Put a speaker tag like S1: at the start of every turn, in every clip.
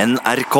S1: NRK.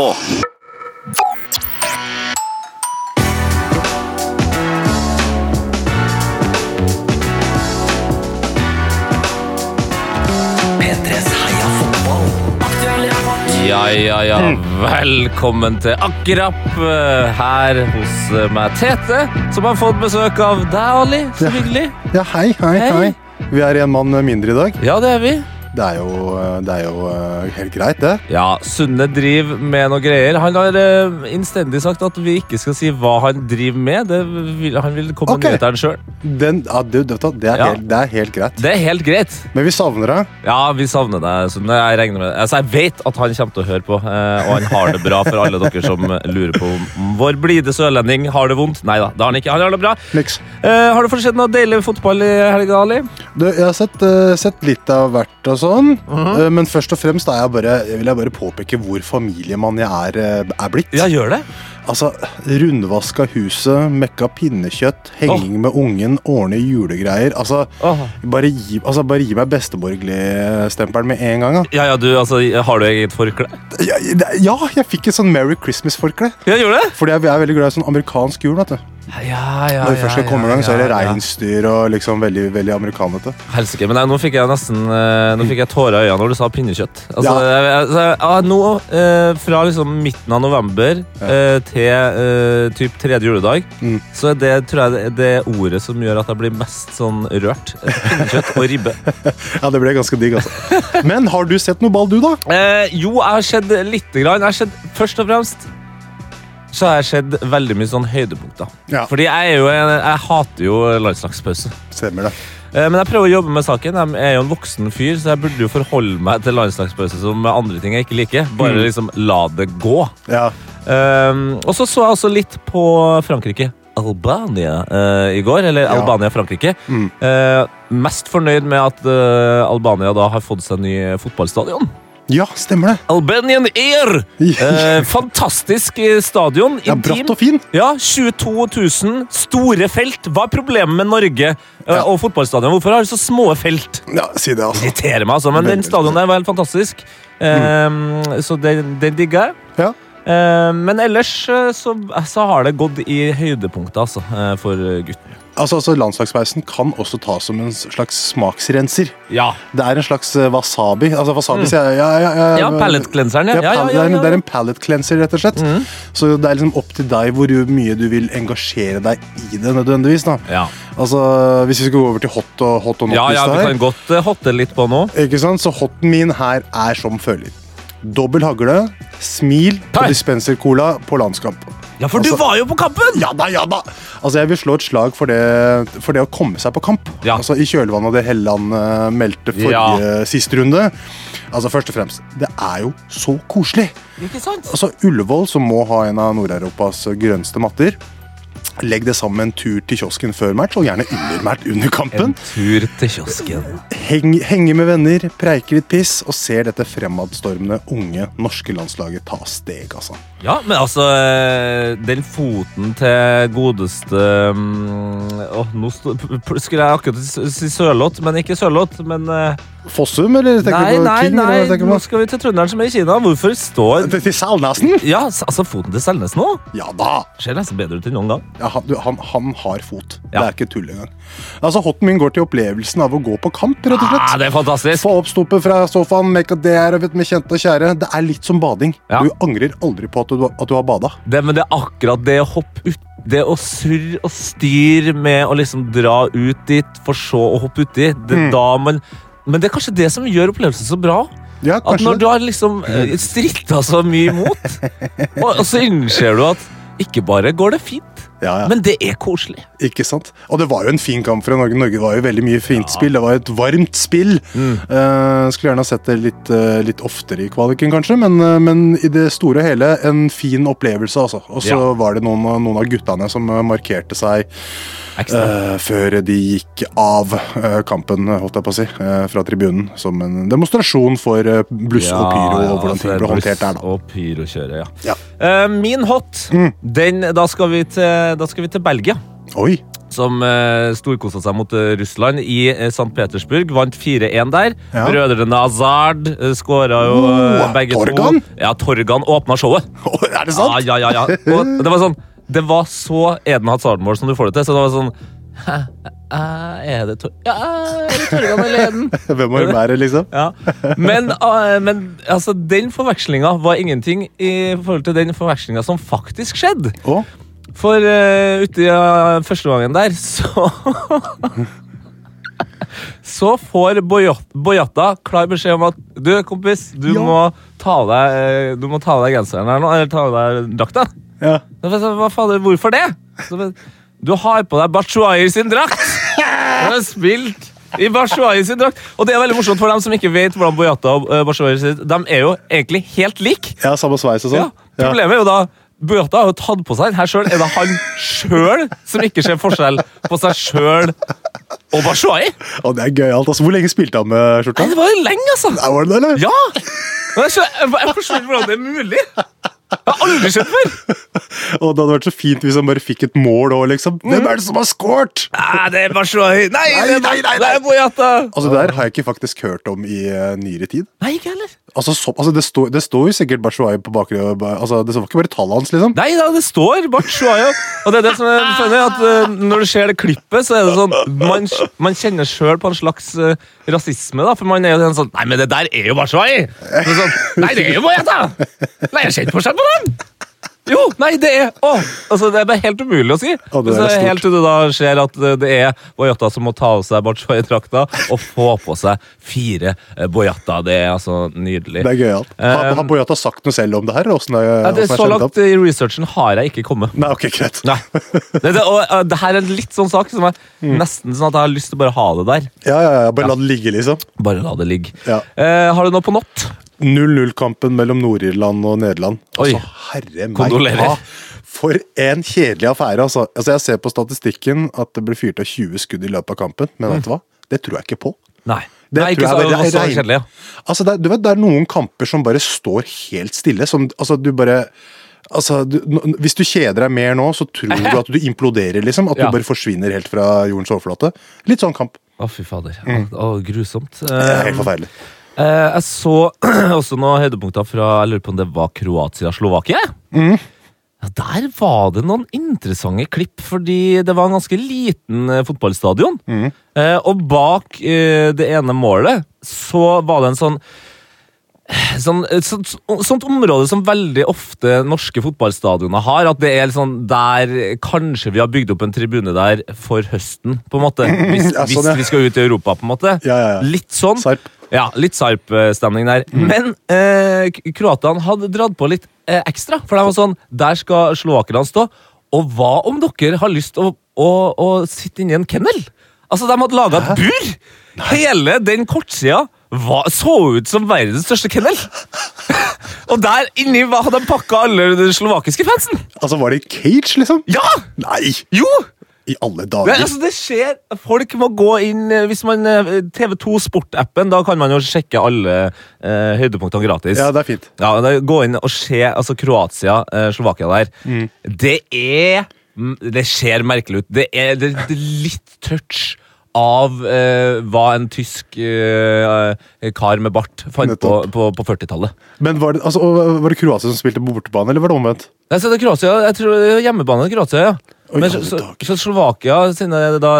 S2: Ja, ja, ja.
S3: Hm.
S2: Velkommen til Akkerap eh, her hos eh, meg, Tete, som har fått besøk av deg, Ali. Så
S3: Ja.
S2: hyggelig.
S3: Ja, hei, hei,
S2: Hei.
S3: hei, Vi er en mann mindre i dag.
S2: Ja, det er vi.
S3: Det er jo, eh, det er jo eh, helt greit, det.
S2: Ja, Sunne driver med noe greier. Han har eh, innstendig sagt at vi ikke skal si hva han driver med. Det vil, han vil komme
S3: Ok.
S2: med nyhetene sjøl.
S3: Den, ja, du, vet du hva, det, er
S2: Ja.
S3: helt, det er helt greit.
S2: Det er helt greit.
S3: Men vi savner deg.
S2: Ja, vi savner deg, Sunne. Jeg regner med Altså, jeg vet at han kommer til å høre på, eh, og han har det bra for alle dere som lurer på om vår blide sørlending har det vondt. Nei da, det har han ikke. Han har det bra.
S3: Niks.
S2: Eh, har du fått sett noe deilig fotball i helga, Ali?
S3: Du, jeg har sett, eh, sett litt av hvert og sånn.
S2: Mhm.
S3: Eh, men først og fremst er jeg bare, vil jeg bare påpeke hvor familiemann jeg er, eh, er blitt.
S2: Ja, gjør det.
S3: Altså, Rundvaska huset, mekka pinnekjøtt, henging med ungen, ordne julegreier. Altså,
S2: Åh.
S3: bare gi, altså, bare gi meg besteborgerlig-stempelen med en gang. Da.
S2: Ja, ja, du, altså, har du eget forkle?
S3: Ja, det- ja, jeg fikk et sånn Merry Christmas-forkle.
S2: Ja, gjør det?
S3: Fordi jeg, jeg er veldig glad i sånn amerikansk jul. vet du
S2: Ja, ja, ja.
S3: Når vi først skal komme i gang, så er det
S2: ja, ja.
S3: reinsdyr og liksom veldig, veldig amerikanete.
S2: Helsike, men nei, nå fikk jeg nesten eh, Nå fikk jeg tårer i øynene når du sa pinnekjøtt. Altså,
S3: Ja.
S2: jeg, jeg- altså, ja, nå, eh, fra liksom midten av november eh, til eh, typ tredje juledag,
S3: Mm.
S2: så er det tror jeg det- det er ordet som gjør at jeg blir mest sånn rørt. Pinnekjøtt og ribbe.
S3: Ja, det ble ganske digg, altså. Men har du sett noe ball, du, da?
S2: Eh, jo, jeg har sett lite grann. Jeg har sett, først og fremst så har jeg sett veldig mye sånn høydepunkter.
S3: Ja.
S2: Fordi jeg, er jo en, jeg hater jo landslagspause.
S3: Stemmer det.
S2: Eh, Men jeg prøver å jobbe med saken. Jeg er jo en voksen fyr, så jeg burde jo forholde meg til landslagspause som andre ting jeg ikke liker.
S3: Mm.
S2: Bare liksom la det gå.
S3: Ja,
S2: Um, og så så jeg også litt på Frankrike. Albania eh, i går, eller
S3: Ja.
S2: Albania-Frankrike.
S3: Mm.
S2: Eh, mest fornøyd med at eh, Albania da har fått seg ny fotballstadion.
S3: ja stemmer det.
S2: Albanian Air! Eh, fantastisk eh, stadion.
S3: Ja,
S2: intim.
S3: Bratt og fin.
S2: Ja, 22 000. Store felt. Hva er problemet med Norge eh,
S3: Ja.
S2: og fotballstadion? Hvorfor har de så små felt?
S3: Ja, Si det, altså.
S2: Irriterer meg, altså. Men den
S3: Veldig.
S2: stadion der var helt fantastisk. Eh, Så den, den digger jeg.
S3: Ja.
S2: Eh, men ellers eh, så, så har det gått i høydepunktet, altså, eh, for gutten.
S3: Altså, altså Landslagspausen kan også tas som en slags smaksrenser.
S2: Ja.
S3: Det er en slags eh, wasabi. Altså, wasabi sier jeg ja, ja, ja,
S2: Mm. Ja, pallettklinseren, ja.
S3: Det er
S2: Ja, ja,
S3: pal-
S2: ja,
S3: det er en-
S2: ja, Mm.
S3: Det er
S2: ja.
S3: en pallet cleanser, rett og slett. Så det er liksom opp til deg hvor mye du vil engasjere deg i det, nødvendigvis. da.
S2: Ja,
S3: Altså, Hvis vi skal gå over til hot og hot og
S2: ja, ja
S3: not-lista
S2: vi kan
S3: her,
S2: godt eh, hotte litt på nå.
S3: ikke sant? så hoten min her er som følger. Dobbel hagle, smil på
S2: Hei.
S3: dispenser-cola på landskamp.
S2: Ja, for du
S3: Altså-
S2: var jo på kampen!
S3: Ja da, ja da! Altså, Jeg vil slå et slag for det, for det å komme seg på kamp.
S2: Ja.
S3: Altså, I kjølvannet av det Helland eh, meldte forrige
S2: Ja.
S3: siste runde. Altså, Først og fremst, det er jo så koselig!
S2: Ikke sant?
S3: Altså, Ullevål, som må ha en av Nord-Europas grønneste matter. Legg det sammen med en tur til kiosken før match, og gjerne under match under
S2: En
S3: kampen.
S2: tur til kiosken.
S3: Heng, henge med venner, preike litt piss, og ser dette fremadstormende unge norske landslaget ta steg, altså.
S2: Ja, men altså eh, Den foten til godeste mm, Åh, nå sto, p- p- skulle jeg akkurat si- si Sørloth, men ikke Sørloth. Men eh,
S3: Fossum, eller tenker
S2: Nei,
S3: du på
S2: nei,
S3: King?
S2: nei,
S3: eller hva tenker du
S2: nå
S3: på?
S2: skal vi til trønderen som er i Kina. Hvorfor står
S3: Til- Til Salnassen?
S2: Ja, s- altså, foten til Selnes nå
S3: Ja da!
S2: ser nesten bedre ut enn noen gang.
S3: Ja, han, du, han, han har fot.
S2: Ja.
S3: Det er ikke tull engang. Altså, Hotten min går til opplevelsen av å gå på kamp, rett og slett.
S2: Ah, det er fantastisk.
S3: Få opp stoppet fra sofaen, make a dare of it med kjente og kjære. Det er litt som bading.
S2: Ja.
S3: Du angrer aldri på at du, at du har bada.
S2: Det, men det er akkurat det å hoppe ut Det å surre og styre med å liksom dra ut dit, for så å hoppe uti. Det
S3: Mm.
S2: er da man Men det er kanskje det som gjør opplevelsen så bra.
S3: Ja,
S2: At
S3: kanskje
S2: når
S3: det.
S2: du har liksom eh, stritta så mye imot, og, og så innser du at ikke bare går det fint,
S3: Ja, Eh, ja.
S2: men det er koselig.
S3: Ikke sant? Og det var jo en fin kamp fra Norge. Norge var jo veldig mye fint spill. Det var jo et varmt spill.
S2: Mm.
S3: Eh, skulle gjerne ha sett det litt, eh, litt oftere i kvaliken, kanskje, men, eh, men i det store og hele en fin opplevelse, altså. Og så
S2: Ja.
S3: var det noen, av- noen av guttene som eh, markerte seg
S2: Ekstra.
S3: eh, før de gikk av eh, kampen, holdt jeg på å si, eh, fra tribunen. Som en demonstrasjon for eh, bluss og pyro og hvordan ting ble håndtert der, da.
S2: altså,
S3: Mm.
S2: Og pyrokjøret, ja.
S3: Ja.
S2: Eh, min hot, den, da, skal vi til, da skal vi til Belgia.
S3: Oi!
S2: som eh, storkosa seg mot eh, Russland i eh, St. Petersburg. Vant 4-1 der.
S3: Ja.
S2: Brødrene Azard eh, skåra jo eh,
S3: Oh,
S2: begge
S3: Torgan?
S2: to. Ja, Torgan åpna showet.
S3: Å, er det sant?
S2: Ja, ja, ja, ja. Og det var sånn Det var så Eden Hazard-mål som du får det til, så det var sånn Hæ, eh, er det Tor... Ja, er det Torgan eller Eden?
S3: Hvem må det være, liksom?
S2: Ja. Men, eh, men altså, den forvekslinga var ingenting i forhold til den forvekslinga som faktisk skjedde.
S3: Å,
S2: For eh, ute i eh, første gangen der, så Så får Boyot- Boyata klar beskjed om at Du, kompis, du
S3: Ja.
S2: må ta av deg eh, Du må ta av deg genseren her nå, eller ta av deg drakta.
S3: ja.
S2: Da får jeg sånn, Hva fader, hvorfor det? Så, men, du har på deg Batshuayi sin drakt! Du har spilt i Batshuayi sin drakt. Og det er veldig morsomt for dem som ikke vet hvordan Boyata og eh, Batshuayi sitt De er jo egentlig helt like.
S3: ja, samme sveis og
S2: Ja,
S3: sånn? Ja.
S2: problemet er jo da Boyata har jo tatt på seg den her sjøl. Er det han sjøl som ikke ser forskjell på seg sjøl og Batshuayi?
S3: Å, det er gøyalt. Altså, hvor lenge spilte han med skjorta?
S2: Nei, Det var jo lenge, altså!
S3: Ja, Var det det, eller?
S2: Ja! Men Jeg skjønner- jeg forstår ikke hvordan det er mulig. Jeg har aldri skjønt før.
S3: Og det hadde vært så fint hvis han bare fikk et mål òg, liksom.
S2: Mm.
S3: Hvem er det som har scoret?
S2: Nei, det er Batshuayi. Nei,
S3: Nei,
S2: det er-
S3: nei, nei, nei.
S2: det er Boyata.
S3: Altså, Det der har jeg ikke faktisk hørt om i eh, nyere tid.
S2: Nei, ikke heller.
S3: Altså, så, altså Det står det står jo sikkert Barshuayi på bakre altså, Det var ikke bare tallet hans, liksom.
S2: Nei da, det står Batshuayi. Og det er det som er funny, at eh, når du ser det klippet, så er det sånn Man, man kjenner sjøl på en slags eh, rasisme, da, for man er jo den sånn Nei, men det der er jo Batshuayi! Så er det Sånn, nei, det er jo Boyata! Nei, jeg ser ikke forskjell på dem! Jo, nei, det er å, altså Det er bare helt umulig å si.
S3: Å, det er
S2: Så det er
S3: stort.
S2: helt til du da ser at eh, det er Boyata som må ta av seg Batshuayi-drakta og få på seg fire eh, Boyata. Det er altså nydelig.
S3: Det er gøyalt. Har,
S2: Um,
S3: har Boyata sagt noe selv om det her? eller Hvordan
S2: Nei,
S3: er,
S2: det,
S3: hvordan er
S2: så
S3: skjønt
S2: langt
S3: opp?
S2: i researchen har jeg ikke kommet.
S3: Nei, Mm. ok, greit.
S2: Nei. Det, det, og, eh, det her er en litt sånn sak som er nesten sånn at jeg har lyst til å bare ha det der.
S3: Ja, ja, ja, Bare la det ligge, liksom.
S2: Bare la det ligge.
S3: Ja.
S2: Eh, har du noe på natt?
S3: 0-0-kampen mellom Nord-Irland og Nederland.
S2: Oi.
S3: Altså, herre meg.
S2: Kondolerer.
S3: Ja, for en kjedelig affære, altså. altså. Jeg ser på statistikken at det ble fyrt av 20 skudd i løpet av kampen,
S2: Mm.
S3: men vet du hva? Det tror jeg ikke på.
S2: Nei.
S3: Det
S2: Nei, ikke
S3: tror
S2: så,
S3: jeg
S2: det var
S3: veldig-
S2: så
S3: jeg regner-
S2: kjedelig. ja.
S3: Altså, det, er- du vet, det er noen kamper som bare står helt stille. Som, altså, du bare Altså, du, n- Hvis du kjeder deg mer nå, så tror du at du imploderer. liksom, At
S2: Ja.
S3: du bare forsvinner helt fra jordens overflate. Litt sånn kamp.
S2: Å, fy fader.
S3: Mm.
S2: Å, grusomt.
S3: Det er
S2: Eh,
S3: helt forferdelig.
S2: eh, jeg så også noen høydepunkter fra Jeg lurer på om det var Kroatia-Slovakia?
S3: Mm.
S2: Ja, der var det noen interessante klipp, fordi det var en ganske liten eh, fotballstadion.
S3: Mm.
S2: Eh, og bak eh, det ene målet så var det en sånn sånn, et sånt, sånt område som veldig ofte norske fotballstadioner har. At det er litt sånn der Kanskje vi har bygd opp en tribune der for høsten, på en måte. Hvis,
S3: Ja, sånn,
S2: hvis
S3: ja.
S2: vi skal ut i Europa, på en måte.
S3: Ja, ja, ja.
S2: Litt sånn.
S3: Sarp.
S2: Ja, litt Sarp-stemning der. Men eh, k- kroatene hadde dratt på litt eh, ekstra. For det var sånn, der skal slovakerne stå. Og hva om dere har lyst til å, å, å sitte inni en kennel? Altså, De hadde laga et bur! Hele den kortsida var, så ut som verdens største kennel. og der inni hva hadde de pakka alle de slovakiske fansen?
S3: Altså, Var det i cage, liksom?
S2: Ja!
S3: Nei!
S2: Jo!
S3: I alle
S2: Det,
S3: dager.
S2: altså, det skjer. Folk må gå inn eh, Hvis man eh, TV2 Sport-appen, da kan man jo sjekke alle eh, høydepunktene gratis.
S3: Ja, det er fint.
S2: Ja, da, gå inn og se altså, Kroatia, eh, Slovakia der.
S3: Mm.
S2: Det er mm, Det ser merkelig ut. Det er, det, det er litt touch av eh, hva en tysk eh, kar med bart fant på,
S3: Nettopp.
S2: på, på 40-tallet.
S3: Men var det, altså, og var det Kroatia som spilte på bortebane, eller var det omvendt?
S2: Nei, så det er Kroatia, jeg tror det er hjemmebane til Kroatia, ja.
S3: Oi,
S2: Men
S3: alle
S2: så, så,
S3: dager.
S2: så Slovakia, sine eh, da,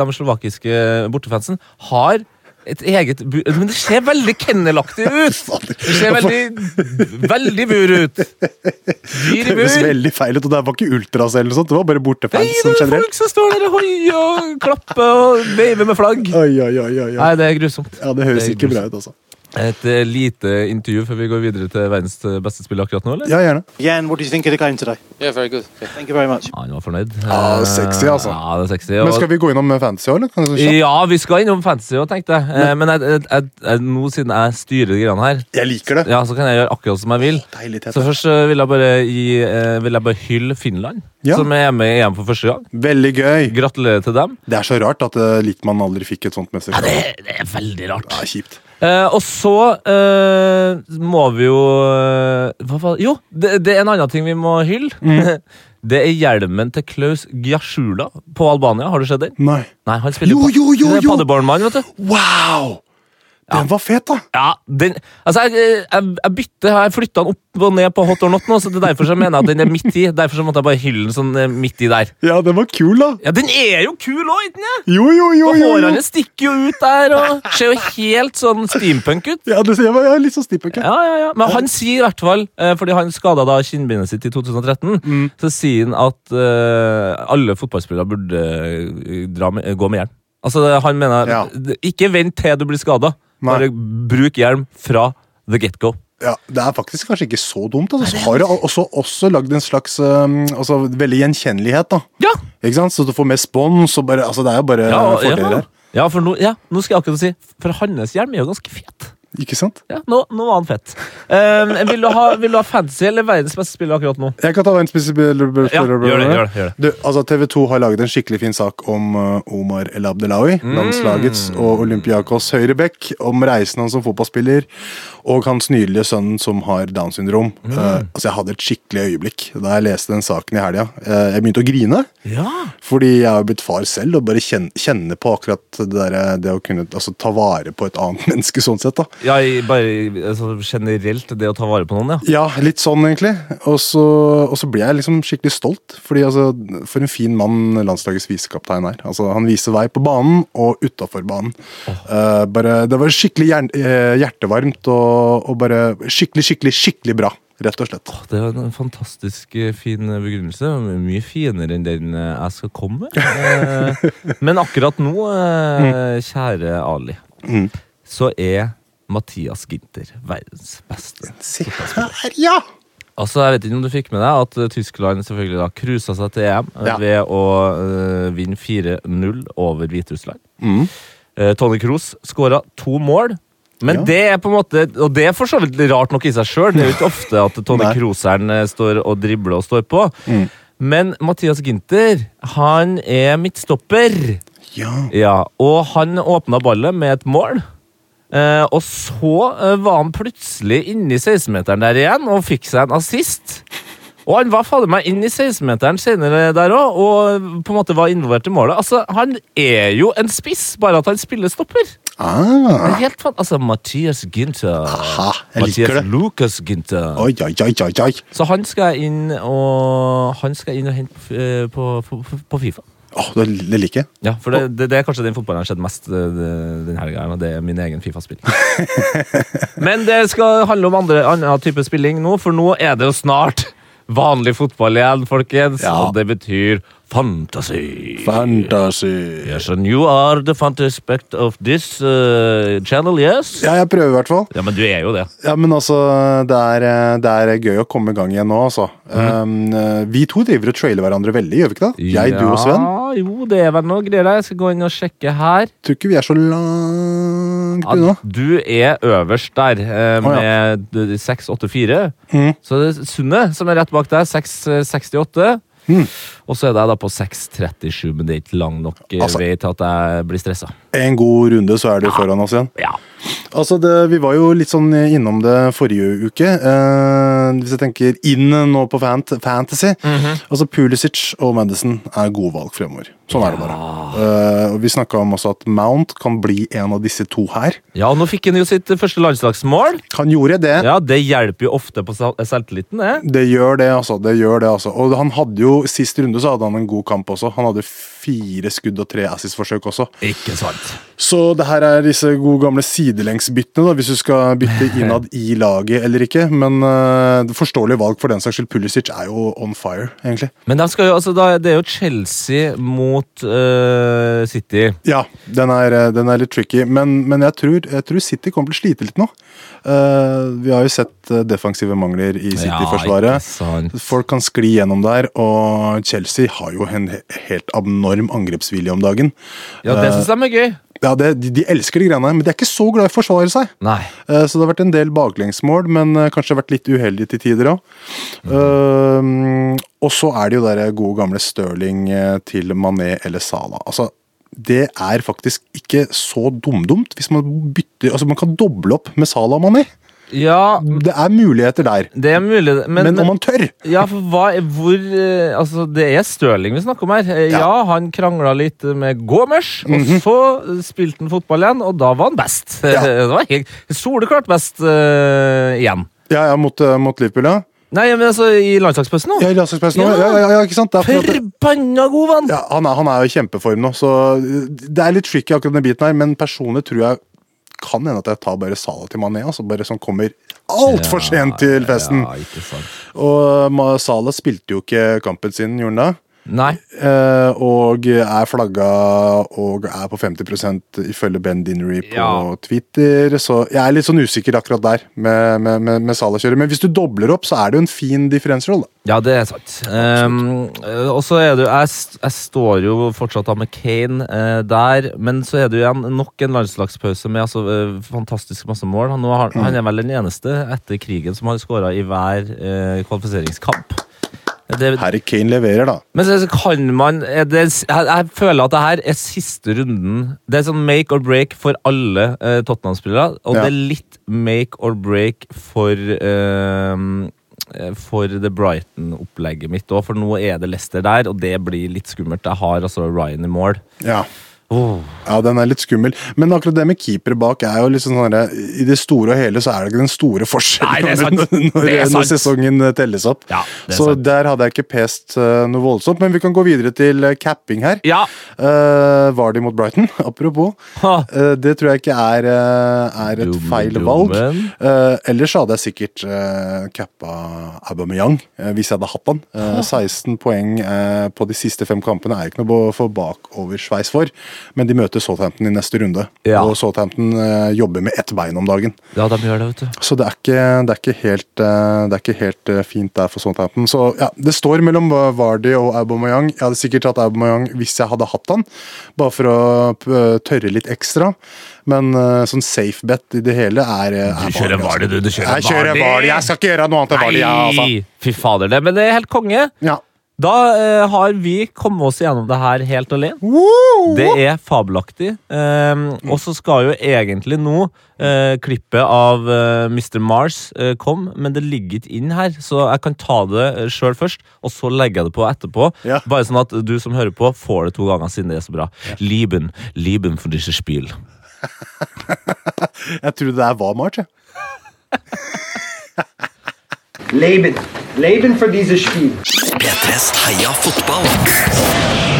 S2: de slovakiske eh, bortefansen, har et eget bu Men det ser veldig kennelaktig ut! Det ser veldig veldig bur ut. Dyr
S3: Det
S2: i
S3: høres
S2: bur.
S3: veldig feil ut, og det var ikke ultras eller noe sånt. Det var bare
S2: Nei,
S3: bortefans
S2: det
S3: sånn
S2: er
S3: generelt.
S2: folk som står der og hoier og klapper og veiver med flagg.
S3: Oi, oi, oi, oi, oi.
S2: Nei, det er grusomt.
S3: Ja, Det høres
S2: det er
S3: ikke bra ut, altså.
S2: Et eh, lite intervju før vi går videre til verdens beste spill akkurat nå, eller?
S3: Ja, gjerne.
S1: Jan, what do you think of the game today?
S4: Yeah, very good. Yeah.
S1: Thank you very much.
S2: Ja, Ah, han var fornøyd.
S3: Ja, sexy, altså.
S2: Ja, det er sexy.
S3: Men
S2: og-
S3: skal vi gå innom eh, fantasy òg, eller? Kan vi sånn kjapt?
S2: Ja, vi skal innom fantasy òg, tenkte jeg. Eh, Men jeg, jeg, jeg, jeg, nå siden jeg styrer de greiene her,
S3: Jeg liker det.
S2: ja, så kan jeg gjøre akkurat som jeg vil.
S3: Deilig,
S2: Så
S3: Tete.
S2: først eh, vil jeg bare, gi, eh, vil jeg bare hylle Finland,
S3: Ja.
S2: som er med i EM for første gang.
S3: Veldig gøy.
S2: Gratulerer til dem.
S3: Det er så rart at uh, Littmann aldri fikk et sånt mesterskap.
S2: Det, det er veldig rart.
S3: Ja, kjipt.
S2: Eh, og så
S3: Mm.
S2: eh, må vi jo eh, Hva faen Jo, det, det er en annen ting vi må hylle. Det er hjelmen til Klaus Gjasjula på Albania. Har du sett den?
S3: Nei.
S2: Nei, han spiller
S3: Jo,
S2: pa-
S3: jo, jo,
S2: det er
S3: jo!
S2: Paderborn-mann, vet du.
S3: Wow! Den var fet, da!
S2: Ja, den, altså jeg, jeg, jeg bytter, jeg flytta den opp og ned på hot or not nå, så det er derfor så mener jeg at den er midt i. Derfor så måtte jeg bare hylle den sånn eh, midt i der.
S3: Ja, den var kul, da!
S2: Ja, den er jo kul òg, ikke sant?
S3: Jo, jo, jo! jo, jo.
S2: Hårene stikker jo ut der og ser jo helt sånn steampunk ut.
S3: Ja, det, jeg var jeg var litt sånn stipp, ok?
S2: Ja, ja, ja. Men han sier i hvert fall, eh, fordi han skada da kinnbindet sitt i 2013,
S3: Mm.
S2: så sier han at eh, alle fotballspillere burde eh, dra med, gå med hjelm. Altså, det- han mener
S3: Ja.
S2: d- Ikke vent til du blir skada.
S3: Nei.
S2: Bare bruk hjelm fra the get go.
S3: Ja, det er faktisk kanskje ikke så dumt. Altså. Så har det også, også lagd en slags um, altså, veldig gjenkjennelighet. da.
S2: Ja!
S3: Ikke sant? Så du får mer spons. og bare, altså, Det er jo bare
S2: og-
S3: fordeler
S2: ja.
S3: her.
S2: ja, for nå, ja, nå skal jeg akkurat si For hans hjelm er jo ganske fet.
S3: Ikke sant?
S2: Ja, nå, nå var han fett. Eh, vil, du ha, vil du ha fancy eller verdens beste spiller akkurat nå?
S3: Jeg kan ta verdens beste spiller.
S2: Ja, gjør det, gjør det, gjør det.
S3: Du, altså, TV 2 har laget en skikkelig fin sak om uh, Omar El Abdelawi,
S2: Mm.
S3: landslagets og Olympiakos høyrebekk, om reisen hans som fotballspiller og hans nydelige sønn som har Downs syndrom.
S2: Mm.
S3: Uh, altså, jeg hadde et skikkelig øyeblikk da jeg leste den saken i helga. Uh, jeg begynte å grine.
S2: Ja,
S3: Fordi jeg har blitt far selv, og bare kjen- kjenne på akkurat det, der, det å kunne altså, ta vare på et annet menneske. sånn sett da.
S2: i- bare altså, generelt det å ta vare på noen, ja.
S3: Ja, litt sånn egentlig. Og så, og så blir jeg liksom skikkelig stolt. Fordi altså, For en fin mann landslagets visekaptein er. Altså, han viser vei på banen og utafor banen. Eh, bare, det var skikkelig hjern- eh, hjertevarmt og, og bare skikkelig, skikkelig, skikkelig bra. Rett og slett.
S2: Det var en fantastisk eh, fin eh, begrunnelse. Mye finere enn den eh, jeg skal komme med. Eh, Men akkurat nå, eh, kjære Ali, så er Mathias Ginter verdens beste.
S3: Se her, ja!
S2: Altså, Jeg vet ikke om du fikk med deg at eh, Tyskland selvfølgelig da cruisa seg til EM eh,
S3: Ja.
S2: ved å eh, vinne 4-0 over Hviterussland.
S3: Mm.
S2: Eh, Tony Kroos skåra to mål. Men
S3: Ja.
S2: det er på en måte, og det er for så vidt rart nok i seg sjøl. Det er jo ikke ofte at Tony
S3: Nei. Mm.
S2: Krooseren eh, står og dribler og står på. Men Mathias Ginter, han er midtstopper.
S3: Ja,
S2: Ja, Og han åpna ballet med et mål. Eh, og så eh, var han plutselig inni 16-meteren der igjen og fikk seg en assist. Og han var fader meg inn i 16-meteren senere der òg, og på en måte var involvert i målet. Altså, Han er jo en spiss, bare at han spiller stopper. Det
S3: ah,
S2: er helt fan... Altså, Mathias Ginter.
S3: Aha, Ah, jeg liker
S2: Mathias
S3: det.
S2: Lucas Ginter.
S3: Oi, oi, oi, oi, oi.
S2: Så han skal jeg inn og Han skal jeg inn og hente på, f- eh, på, på, på Fifa.
S3: Åh, det det liker jeg.
S2: Ja, for det, det, det er kanskje den fotballen jeg har sett mest eh, det- den helga. Og det er min egen Fifa-spilling. Men det skal handle om andre, annen type spilling nå, for nå er det jo snart vanlig fotball igjen, folkens.
S3: Ja.
S2: Og det betyr fantasi.
S3: Fantasy.
S2: Yes, and you are the fantaspect of this eh, channel, yes?
S3: Ja, jeg prøver i hvert fall.
S2: Ja, men du er jo det.
S3: Ja, men altså, det er, det er gøy å komme i gang igjen nå, altså.
S2: Mhm.
S3: Um, eh, vi to driver og trailer hverandre veldig, gjør vi ikke det? Jeg, du og Sven.
S2: Ja, jo, det er vel noe greier der. Jeg skal gå inn og sjekke her.
S3: Tror ikke vi er så langt unna.
S2: Ja, du er øverst der, eh,
S3: Å, ja.
S2: med d- 684.
S3: Mhm.
S2: Så det er Sunne som er rett bak deg, 668.
S3: Mhm.
S2: Og så er jeg da på 637, men det er ikke lang nok eh,
S3: Altså-
S2: vei til at jeg blir stressa.
S3: En god runde, så er du foran oss igjen.
S2: Ja.
S3: Altså, det, Vi var jo litt sånn innom det forrige uke. Eh, hvis jeg tenker inn nå på fant fantasy
S2: Mhm.
S3: Altså, Pulisic og Madison er gode valg fremover. Sånn er det bare. Eh, og Vi snakka om også at Mount kan bli en av disse to her.
S2: ja, og nå fikk han jo sitt første landslagsmål.
S3: Han gjorde det.
S2: Ja, Det hjelper jo ofte på sel- selvtilliten, det.
S3: Det gjør det, altså. det gjør det, altså. Og han hadde jo, Sist runde så hadde han en god kamp også. Han hadde fire skudd og tre assist-forsøk også.
S2: Ikke sant.
S3: Så det her er disse gode gamle sidelengsbyttene, da, hvis du skal bytte innad i laget eller ikke. Men eh, det forståelige valg for den saks skyld. Pulisic er jo on fire, egentlig.
S2: Men de skal jo, altså, da, det er jo Chelsea mot eh, City.
S3: Ja, den er, eh, den er litt tricky, men, men jeg, tror, jeg tror City kommer til å slite litt nå. Eh, vi har jo sett eh, defensive mangler i City-forsvaret.
S2: ikke sant.
S3: Folk kan skli gjennom der, og Chelsea har jo en he- helt abnorm angrepsvilje om dagen.
S2: Ja,
S3: Eh.
S2: det syns de er gøy.
S3: Ja, det, de, de elsker de greiene her, men de er ikke så glad i å forsvare seg.
S2: Nei.
S3: Eh, Så det har vært en del baklengsmål, men eh, kanskje vært litt uheldig til tider òg. og så er det jo der gode gamle Stirling eh, til Mané eller Salah. Altså, det er faktisk ikke så dumdumt hvis man bytter Altså, man kan doble opp med Salah og Mané.
S2: Ja,
S3: Det er muligheter der.
S2: det er mulig, men,
S3: Men, om man tør!
S2: Ja, for hva er- hvor eh, Altså, det er Stirling vi snakker om her. Eh, Ja, han krangla litt med Gomers, og så eh, spilte han fotball igjen, og da var han best.
S3: Mhm. Ja.
S2: det var helt soleklart best eh, igjen.
S3: Ja, ja, mot, eh, mot Liverpool, ja.
S2: Nei, men altså, i landslagspausen nå.
S3: Ja, i landslagspressen nå.
S2: Ja.
S3: Ja, ja, ja, ikke sant? Det er for at det-
S2: Forbanna god vann!
S3: ja, han, er, han er jo i kjempeform nå, så det er litt tricky akkurat den biten her, men personlig tror jeg kan hende at jeg tar bare Salah til Mané, altså bare som kommer altfor sent til festen.
S2: Ja, ikke sant.
S3: Og Ma- Salah spilte jo ikke kampen sin, gjorde han det?
S2: Nei.
S3: Eh, og er flagga og er på 50 ifølge Ben Dinnery på
S2: Ja.
S3: Twitter. Så jeg er litt sånn usikker akkurat der med, med, med, med Salah-kjøret. Men hvis du dobler opp, så er det jo en fin differential. Da.
S2: Ja, det er sant. Ehm, eh, og så er det jo jeg, st- jeg står jo fortsatt da med Kane eh, der, men så er det jo igjen nok en landslagspause med altså, eh, fantastisk masse mål. Han, nå har, han er vel den eneste etter krigen som har skåra i hver eh, kvalifiseringskamp. Det,
S3: Harry Kane leverer, da.
S2: men så så kan man er det, jeg, jeg føler at det her er siste runden. Det er sånn make or break for alle eh, Tottenham-spillere. Og
S3: Ja.
S2: det er litt make or break for eh, For det Brighton-opplegget mitt òg, for nå er det Leicester der, og det blir litt skummelt. Jeg har altså Ryan i mål.
S3: Ja.
S2: Oh.
S3: ja, den er litt skummel. Men akkurat det med keepere bak er jo liksom sånn der, I det store og hele så er det ikke den
S2: Nei,
S3: store
S2: det er
S3: forskjellen
S2: sant.
S3: når, når,
S2: Det er sant.
S3: når sesongen eh, telles opp.
S2: Ja, det er
S3: så
S2: sant.
S3: der hadde jeg ikke pest eh, noe voldsomt. Men vi kan gå videre til eh, capping her.
S2: Ja!
S3: Eh, var de mot Brighton? Apropos.
S2: Ha.
S3: Eh, det tror jeg ikke er, eh, er et
S2: Dumme,
S3: feil valg.
S2: dummen.
S3: Eh, ellers hadde jeg sikkert uh, cappa Aubameyang eh, hvis jeg hadde hatt han. Eh, 16 poeng eh, på de siste fem kampene er ikke noe å få bakoversveis for, men de møter Southampton i neste runde.
S2: Ja.
S3: Og Southampton eh, jobber med ett bein om dagen.
S2: Ja, de gjør det, vet du.
S3: Så det er ikke, det er ikke helt, eh, det er ikke helt eh, fint der for Southampton. Så ja, Det står mellom eh, Vardy og Aubameyang. Jeg hadde sikkert tatt Aubameyang hvis jeg hadde hatt han, bare for å eh, tørre litt ekstra. Men eh, sånn safe bet i det hele er, eh, er
S2: Du kjører Vardy, du. Du kjører
S3: jeg kjører
S2: Vardy.
S3: Vardy. Jeg skal ikke gjøre noe annet enn Vardy, jeg, altså.
S2: Nei! Fy fader, det. Men det er helt konge.
S3: Ja.
S2: Da eh, har vi kommet oss gjennom det her helt alene.
S3: Woo! Mm.
S2: Det er fabelaktig. Ehm, og så skal jo egentlig nå eh, klippet av eh, Mr. Mars eh, komme, men det ligger ikke inn her, så jeg kan ta det sjøl først, og så legger jeg det på etterpå.
S3: Ja.
S2: Bare sånn at du som hører på, får det to ganger siden det er så bra. Lieben, lieben for disse spiel.
S3: Jeg trodde det der var March. jeg.
S1: Leben. Leben für dieses Spiel.
S4: P3s Heia fotball